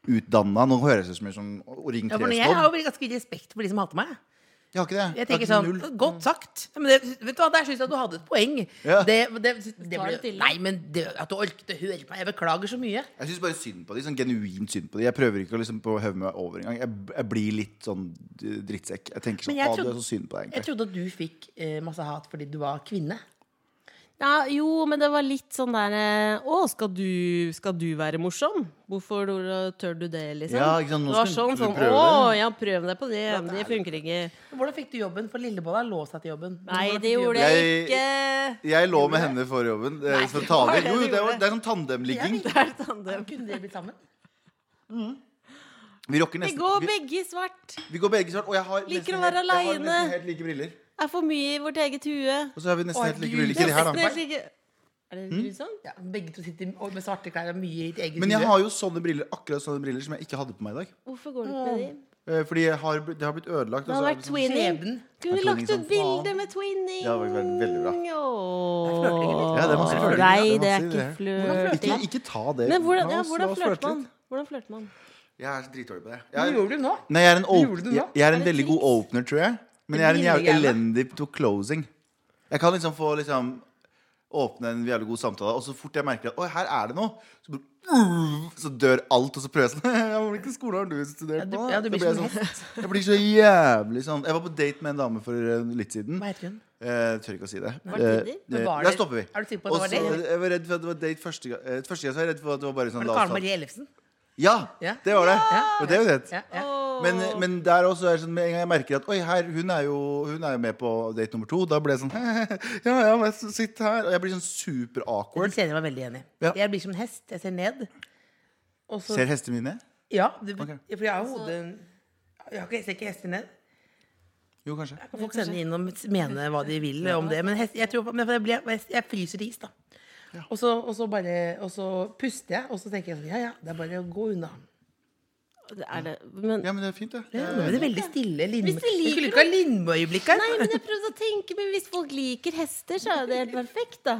underutdanna. Nå høres det ut som en sånn Ring Ja, for jeg har jo 3-snobb. veldig ganske respekt for de som hater meg. Jeg har ikke det. Jeg tenker har sånn, null. Godt sagt. Ja, Men det, vet du hva, Der syns jeg at du hadde et poeng. Ja. Det, det, det Tar det ble, til. nei, men det, at du orket å høre på. Jeg beklager så mye. Jeg syns bare synd på de, sånn genuint synd på de. Jeg prøver ikke å liksom prøve å høve meg over engang. Jeg, jeg blir litt sånn eh, drittsekk. Jeg tenker sånn, Men jeg ah, du trodde- er så synd på deg, Jeg egentlig. trodde at du fikk eh, masse hat fordi du var kvinne. ja, Jo, men det var litt sånn derre Å, skal du, skal du være morsom? Hvorfor tør du det, liksom? Ja, ikke sant, nå det var skal sånn du sånn prøve Å, det." ja, prøv deg på det. men Det funker ikke. Hvordan fikk du jobben? For Lillebolla lå seg til jobben. Nei, Hvordan fikk det du jobben? gjorde jeg ikke. Jeg lå med henne for jobben. eh, for å ta var over. det du Jo, jo, det, var, gjorde. det er sånn tandemligging. Det er tandem. Kunne dere blitt sammen? Vi rocker Vi nesten. går vi, begge i svart. vi går begge svart. Og jeg har Liker nesten å være helt- jeg har alene. nesten helt like briller. Er for mye i vårt eget hue. Og så har vi nesten Å, helt like Gud. briller. Ikke de her, Nesten da. Hm? helt like- Er det grusomt? Ja, begge to sitter og med svarte klær og mye i ditt eget Men jeg hue. har jo sånne briller, akkurat sånne briller som jeg ikke hadde på meg i dag. Hvorfor går du ikke med de? Eh, Fordi jeg har, bl- det har blitt ødelagt. Det og så hadde vært er det sånn- twinning. Skjebnen. Kunne vi Det er lagt twinning ut som bilde faen. med twinning? Det hadde vært veldig bra. Åh. Ja, det er masse flørting. Nei, det Det er er masse ikke i flørting. Ikke, ikke ta det. Men hvordan, La ja, oss- la hvordan oss flørte flørter man? litt. Hvordan flørter man? Jeg er så dritdårlig på det. Hva Jeg er- gjorde du nå? Nei, jeg er en, Gjorde op du det jeg, nå? jeg er en Er det veldig god triks? opener, tror jeg. Men jeg er en Billige jævlig greiene. elendig to closing. Jeg kan liksom få liksom åpne en jævlig god samtale, og så fort jeg merker at Oi, her er det noe, så, bare, så dør alt, og så prøver jeg sånn «Ja, men Hvilken skole har du studert på? da?» ja, du blir så blir som jeg, sånn, jeg blir så jævlig sånn Jeg var på date med en dame for eh, litt siden. Hva heter hun? Eh, tør ikke å si det. Var det Tinder? Eh, Men eh, var der det- stopper vi. Er du sikker på at det var Og så- det? Jeg var redd for at det var date første gang. eh, Første gang så var jeg redd for at det var bare sånn Var det la oss Karen ta- Marie Ellefsen? Ja, Ja. det var det. Ja. Og det er jo det. Ja, ja. Men, men der også er det sånn, med en gang jeg merker at Oi, her, hun er jo, hun er jo med på date nummer to. Da blir jeg sånn Ja, ja, men sitt her. Og jeg blir sånn super Den awkward. kjenner jeg meg veldig igjen i. Ja. Jeg blir som en hest. Jeg ser ned. Og så Ser hestene mine? Ja, det, Ok. for jeg har hodet Jeg har ikke, jeg ser ikke hester ned. Jo, kanskje. Folk sender inn og mene hva de vil om det. Men hest, jeg, tror, men jeg, blir, jeg, jeg fryser til is, da. Og, så, og, så bare, og så puster jeg, og så tenker jeg sånn Ja, ja, det er bare å gå unna. Det er det. Men, Ja, men det er fint, det. Ja, nå ble det veldig stille. Lindmo- Hvis de liker Vi skulle ikke ha Lindmo-øyeblikk her. nei, men jeg prøvde å tenke, men hvis folk liker hester, så er jo det helt perfekt, da.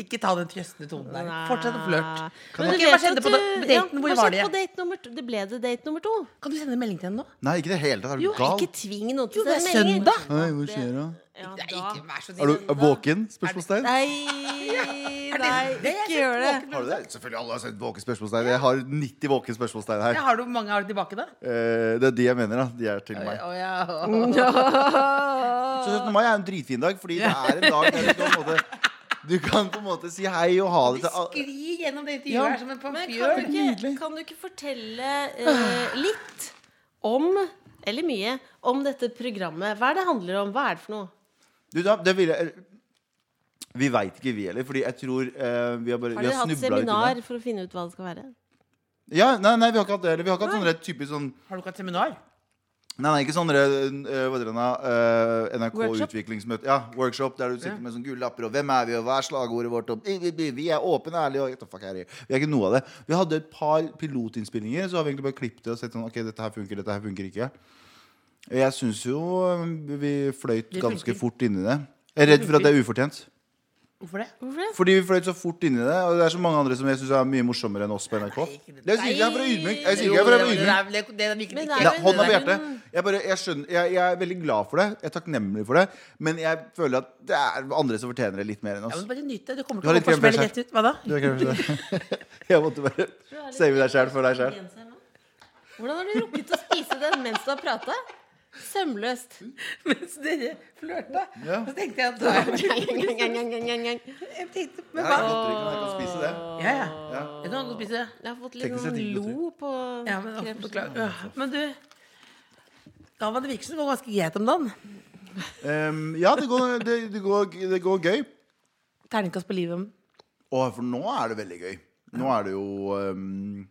Ikke ta den trøstende tonen der. Fortsett å flørte. du- Kan du Ok, vet hva skjedde at på du- da- ja, daten? Hvor hva var skjedde det? på date nummer to? Det ble det date nummer to. Kan du sende melding til henne nå? Nei, ikke i det hele tatt. Er du Jo, gal? ikke tving noen Jo, til det er å sende melding. søndag. Hei, hva skjer da? Ja, Nei, da. ikke vær så Er snill. du våken? Spørsmålstegn? Nei, Er nei, det- det er ikke jeg gjør det. sett våken. Har du det? Selvfølgelig alle har sett våken spørsmålstegn. Jeg har 90 våken spørsmålstegn her. Ja, har du hvor mange har du tilbake, da? Eh, Det er de jeg mener, da. De er til meg. Å, ja. Så 17. mai er en dritfin dag, fordi det er en dag der du kan på en måte Du kan på en måte si hei og ha Altså, det til alle. Skri gjennom det intervjuet her som en Men kan pamfjør. du ikke, kan du ikke fortelle eh, litt om, eller mye, om dette programmet? Hva er det handler om? Hva er det for noe? Du, da, det ville Vi veit ikke, vi heller. Fordi jeg tror eh, vi har bare Har vi dere har hatt snublet litt unna. seminar for å finne ut hva det skal være? Ja, nei, nei, vi har ikke hatt det. Eller vi har ikke hatt sånn rett typisk sånn Har du ikke hatt seminar? Nei, nei, ikke sånn uh, hva heter det, eh, NRK Workshop? utviklingsmøte. Ja, workshop der du sitter med sånne gule lapper og 'Hvem er vi?' og 'Hva er slagordet vårt?' og «Vi- vi- 'Vi er åpne, ærlige' og what the fuck er det?» Vi er ikke noe av det. Vi hadde et par pilotinnspillinger, så har vi egentlig bare klippet det og sett sånn OK, dette her funker, dette her funker ikke. Jeg syns jo eh, vi fløyt Det ganske funker. fort inni det. Jeg er redd for at det er ufortjent. Hvorfor det? Hvorfor det? Fordi vi fløyt så fort inn i det. Og det er så mange andre som jeg synes er mye morsommere enn oss på NRK. Det sier ikke jeg for å være ydmyk. Jeg sier ikke jeg for å være ydmyk. det, det, det virker Men ikke. det er Ja, jo en- hånda på det er hjertet. Jeg, bare, jeg, skjønner, jeg, jeg er veldig glad for det. Jeg er takknemlig for det. Men jeg føler at det er andre som fortjener det litt mer enn Ja, men oss. bare nyt det. Du kommer Du har til å litt få krem fresh smelle rett ut. Hva da? Du er kanskje det. Jeg måtte bare save deg sjæl for deg sjæl. Hvordan har du rukket å spise den mens du har prata? Sømløst. Mm. Mens dere flørta, Ja. så tenkte jeg at da er det- Jeg jeg tenkte, Det men er hva? godteri, men jeg kan spise det. Ja, ja. Ja. Er det noe annet å spise? har fått litt Teknisk sett sånn ikke godt, lo på Ja, men, å, krepsen. beklager. Ja, men du Galvan, det virker som det går ganske greit om dagen. Ehm, ja, det går, det, det går, det går gøy. Terningkast på livet. om- Og for nå er det veldig gøy. Nå er det jo ehm,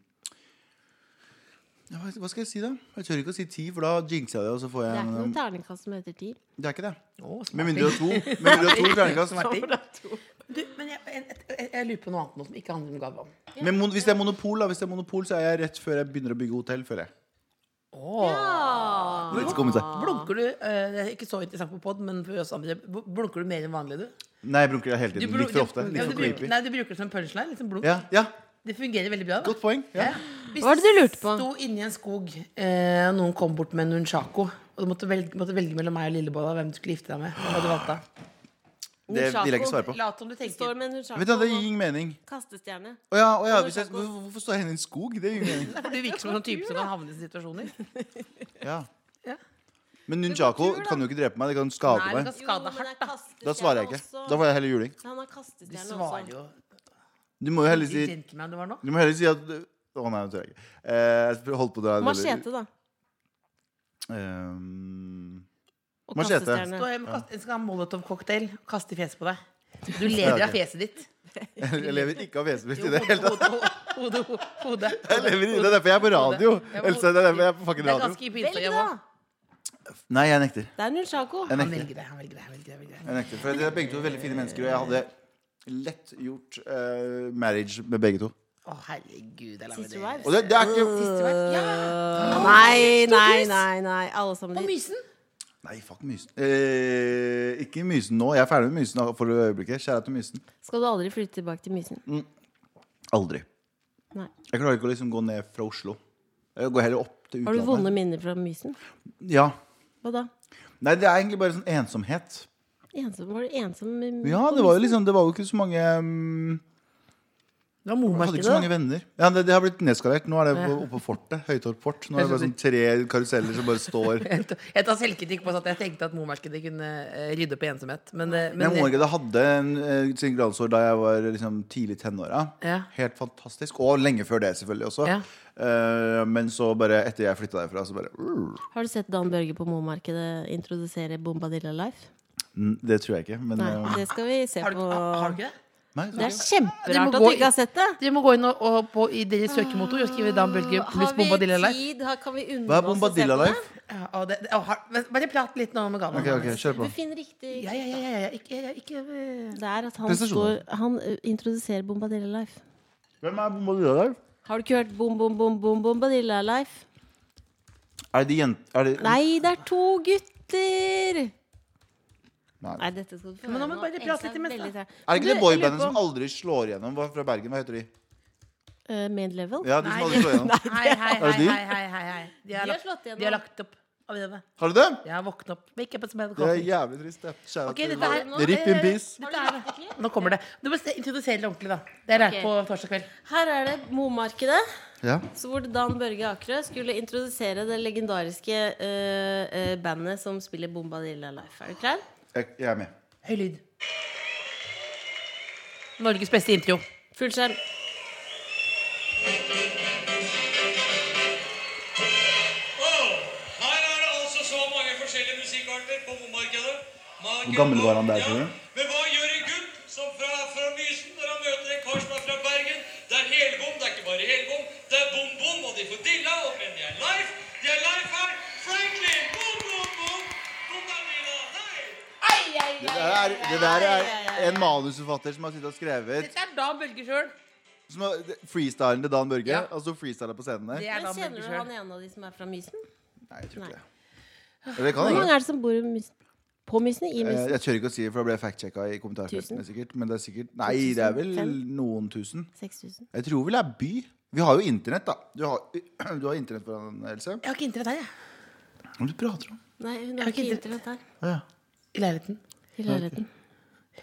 ja, hva- Hva skal jeg si, da? Jeg tør ikke å si ti, for da jinxer jeg det. Og så får Det jeg er ikke noe en, terningkast som heter tid. det er ikke det. Å, smart. Med mindre du har to. Med mindre du har to terningkast. Smarting. Du, men jeg, jeg, jeg, jeg lurer på noe annet nå som ikke handler om Galvan. Men mon hvis det er monopol, da Hvis det er monopol, så er jeg rett før jeg begynner å bygge hotell. Føler jeg. Ja. Ah. Det skal komme seg. Blunker du eh, Det er ikke så interessant på pod, men for oss andre bl- Blunker du mer enn vanlig, du? Nei, jeg blunker hele tiden. blu- Litt for ofte. ja, Litt du for bruker- creepy. Nei, du bruker det som punchline. Liksom blunk. Ja, ja, Det fungerer veldig bra. Da. godt poeng. Ja. Hvis Hva var det du lurte på? sto inni en skog, eh, og noen kom bort med en nunchako, og du måtte velge, måtte velge mellom meg og Lillebolla hvem du skulle gifte deg med, hva hadde du valgt da? Det vil jeg ikke svare på. Lat som du tenker. Står med en Vet du, Det gir nunchako og ingen mening. kastestjerne. Å ja, å ja, hvis jeg, hvorfor hvorfor står jeg inne i en skog? Det gir ingen mening. For du virker som en sånn type som kan havne i situasjoner. Ja. Ja. Men nunchako kan jo ikke drepe meg. Det kan skade Nei, det meg. kan skade Jo, men det er hardt, da. kastestjerne Da svarer jeg ikke. også. Da får jeg heller juling. Han har Du kastestjerne svarer også. jo Du må jo heller si gentleman du var nå. Du må heller si at Å nei, det tør jeg ikke. Eh, jeg holdt på å dra en veldig- Eh, Machete, da. Ehm, Og Machete. Du kastestjerne. har- kast- skal ha en molotov-cocktail, kaste i fjeset på deg. Du lever av fjeset ditt. jeg lever ikke av vesenet mitt i det Hodet, hele tatt. hodet, hodet, hodet, hodet. Jeg lever i det. Det er derfor jeg er på radio. Ja, Else, det er derfor jeg er på Det fucking er radio. ganske Velg, pinsomt. da! Han Nei, jeg nekter. Det er nunchako. Jeg nekter. velger det, han velger det, han velger det. han velger det. Jeg nekter, for det er begge to veldig fine mennesker, og jeg hadde lett gjort eh, marriage med begge to. Å, herregud. Jeg Sister lager det. Wives. Og det, det er ikke Sister Wives, Ja. Nei, nei, nei, nei. Alle sammen Og dit. Mysen. Nei, fuck Mysen. Eh, ikke Mysen nå. Jeg er ferdig med Mysen for øyeblikket. Kjære til Mysen. Skal du aldri flytte tilbake til Mysen? Aldri. Nei. Jeg klarer Mm. ikke å liksom gå ned fra Oslo. Jeg går heller opp til Har du utlandet. vonde minner fra Mysen? Ja. Hva da? Nei, det er egentlig bare sånn ensomhet. Ensom, var du ensom? Ja, det var jo liksom Det var jo ikke så mange mm, Det var Jeg hadde ikke så mormarkedet. mange venner. Ja, det, det har blitt nedskalert. Nå er det på- oppe på fortet. Høytorp fort. Nå er det bare sånn tre karuseller som bare står. Jeg tar- jeg tar selvkritikk på at jeg tenkte at mormarkedet kunne eh, rydde opp i ensomhet. Men, eh, Men men Morgade hadde en eh, sin glansår da jeg var liksom, tidlig i tenåra. Ja. Helt fantastisk. Og lenge før det, selvfølgelig også. Ja. Eh, men så bare etter jeg flytta derfra, så bare uh, Har du sett Dan Børge på Momarkedet introdusere Bombadilla Life? n- Det tror jeg ikke. Men Nei, eh, det skal vi se har, du, på. har du ikke det? nei, Det er så- Dere må kjemperart at gå du ikke har sett det. Dere må gå inn og, og på, i deres søkemotor og skrive Dan Børge pluss Bombadilla Har Life. vi tid? Har- Kan vi unne Hva er oss å se Bombadilla på det? Life? Ja, og det, det og har, men bare prat litt nå med Ghana. Ok, ok, kjør på. Du finner riktig Ja, ja, ja, ja, ja. Ikke, ja, ikke eh, Det er at han, står, Prestasjoner. han ø, introduserer Bombadilla Life. Hvem er Bombadilla der? Har du ikke hørt Bom, bom, bom, bom, Bombadilla Life? Er det jent... Er det Nei, det er to gutter! Nei. Nei, dette skal du få Men nå må høre vi bare prate nå. Elsa litt imens, veldig da. treg. Er det ikke Du, det jeg lurer boybandet på- som aldri slår igjennom? Hva fra Bergen? Hva heter de? Eh, Mid-level? Ja, de som aldri slår igjennom. Hei, hei, hei, Er det de? hei, hei, hei, hei. De har De har lagt, slått igjennom. de har lagt opp. allerede. Har du det? Jeg har våknet opp. Wake up and smell the Det er coffee. jævlig trist. Det. Shout out Ok, til- dette her- nå- eh, Rip in peace. Har du lagt det til? Nå kommer det. Du må se- introdusere det ordentlig, da. Det er Ok. på torsdag kveld. Her er det Momarkedet. Ja. Så hvor Dan Børge Akerø skulle introdusere det legendariske eh, eh, bandet som spiller Bombadilla Life. Er du klar? Jeg, jeg er med. Høy lyd. Norges beste intro. Full skjerm. Her er det altså så mange forskjellige musikkarter på bommarkedet. Hvor gammel var han der, tror du? Men hva gjør en gutt som fra, fra Mysen når han møter en kar som er fra Bergen? Det er helbom, det er ikke bare helbom. Det er bom-bom, og de får dilla, og men de er life. De er life her. Franklin! Bom-bom-bom! Bom-bom-dilla! Nei! Det der er, det der er en manusforfatter som har sittet og skrevet Dette er Dan Børge sjøl. som har, det- Freestylen til Dan Børge. Ja. Altså freestyler på scenen der. Det er Men Dan kjenner Børge du sjøl. han ene av de som er fra Mysen? Nei, jeg tror Nei. ikke det. Eller det kan Hvor hende. mange er det som bor i Mysen? på Mysen? I Eh, Mysen? Jeg tør ikke å si det, for da ble jeg fact-checka i kommentarfeltene. sikkert Men det er sikkert Nei, det er vel 2005? noen tusen. 6000. Jeg tror vel det er by. Vi har jo internett, da. Du har, du har internett foran deg, Else? Jeg har ikke internett her, jeg. Hva er det du prater om? Nei, hun har har ikke ikke internett her. Ja. I leiligheten. I leiligheten.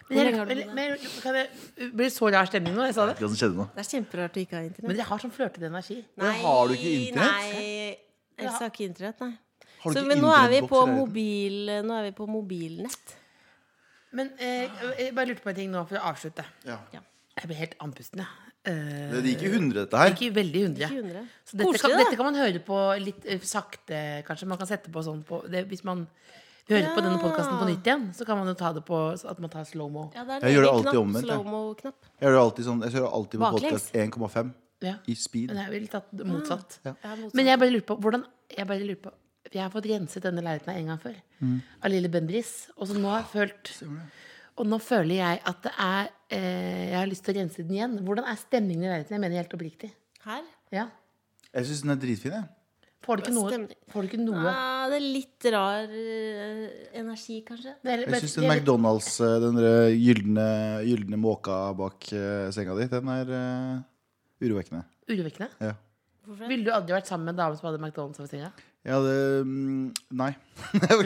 Men jeg, lenge har du men, bodd men, kan jeg, det blir så rar stemning nå. Jeg sa det. Det som skjedde nå. Det er kjemperart du ikke har Men internett. dere har sånn flørtete energi. Men har du ikke internett? Nei, Elsa har ikke internett, nei. Har du Så, ikke men nå er, vi internettboks på i leiligheten? mobil, nå er vi på mobilnett. Men eh, jeg bare lurte på en ting nå for å avslutte. Ja. Jeg ble helt andpusten, jeg. Eh, Det gikk i hundre, dette her. ikke veldig undre. Ikke undre. Så dette kan, Koselig, da. dette kan man høre på litt eh, sakte, kanskje. Man kan sette på sånn på det, Hvis man hører på denne podkasten på nytt igjen, så kan man jo ta det på så at man tar slow-mo. Ja, det er en Jeg gjør det egen alltid knapp, omvendt, jeg. Slow-mo-knapp. Jeg hører alltid, sånn, jeg hører alltid på Baklengs. podkast 1,5 Ja. i speed. Men jeg ville tatt motsatt. Ja, motsatt. Men jeg bare lurer på hvordan Jeg bare lurer på Jeg har fått renset denne leiligheten her en gang før. Mm. Av lille Bendris. Og så nå har jeg følt Og nå føler jeg at det er eh, Jeg har lyst til å rense den igjen. Hvordan er stemningen i leiligheten? Jeg mener helt oppriktig. Her? Ja. Jeg syns den er dritfin, jeg. Får du ikke noe? Stemning. Får du ikke noe? Ah, det er litt rar eh, energi, kanskje. Det er- Jeg men- syns den jeg- McDonald's, eh, den der gylne, gylne måka bak eh, senga di, den er eh, urovekkende. Urovekkende. Ja. Hvorfor det? Ville du aldri vært sammen med en dame som hadde McDonald's over senga? Jeg hadde mm, Nei. nei, jeg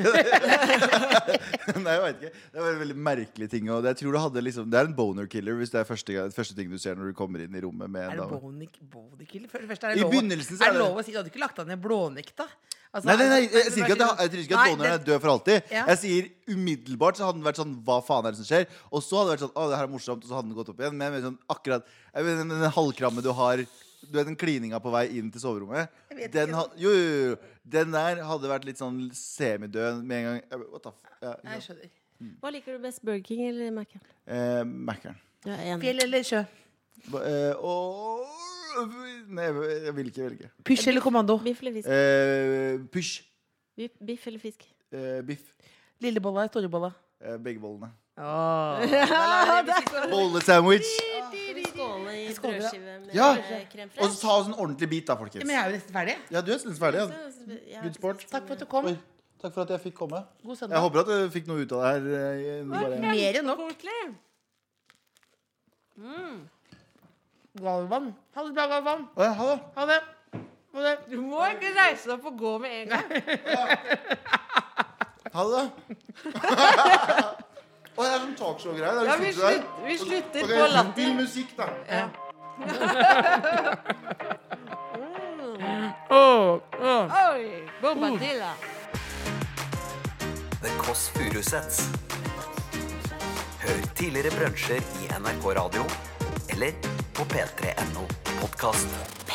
veit ikke. Det var en veldig merkelig ting. Og jeg tror du hadde liksom, det er en boner killer hvis det er første, gang- første ting du ser når du kommer inn i rommet med Er en det dame. bonik, bonikil? For det første er I det lov, begynnelsen så er er det det- lov å si Du hadde ikke lagt deg ned blånekta? Altså, Nei, nei, nei, er det- jeg sier ikke at, jeg, jeg tror ikke at Nei, boneren er det- død for alltid. Ja. Jeg sier umiddelbart så hadde den vært sånn Hva faen er det som skjer? Og så hadde det vært sånn Å, det her er morsomt. Og så hadde den gått opp igjen. Men jeg mener sånn akkurat jeg mener, den, den halvkramme du har Du vet den klininga på vei inn til soverommet? Den, ha, jo, jo, jo, jo. den der hadde vært litt sånn semidød med en gang. Jeg, bare, what the f... Ja, Nei, ikke jeg sant. skjønner. Hva liker du best, Burger King eller Mac? eh, Mackeren. Du er enig. Fjell eller sjø? Ba- Eh, og Nei, jeg- jeg vil ikke velge. Pysj eller kommando? Biff eller fisk? Eh, Pysj. Biff, biff eller fisk? Eh, biff. Lillebolla eller storebolla? Eh, begge bollene. Åh. Bollesandwich. Skal vi skåle i Skåle, ja. brødskive med Ja. eh, crème Og så fraîche? ta oss en ordentlig bit, da, folkens. Men jeg er jo nesten ferdig. Ja, du er nesten ferdig. Ja. Ja, Good sport. Takk for at du kom. Oi, takk for at jeg fikk komme. God Jeg søndag. håper at du fikk noe ut av det her. eh, i- Bare. Mer enn nok Koselig. Mm. Galvan. Ha det bra, Galvan. Å, ja, ha det. Ha det. Ha det. Du må ikke reise deg opp og gå med en gang. Ha det. Og det er sånn talkshow-greier. det er Ja, litt vi sånn der. slutt- vi slutter Ok, på latter. Til musikk, da. Åh, åh. Oi, Bombadilla. The Kåss Furuseths. Hør tidligere brunsjer i NRK Radio eller på p3.no podkast.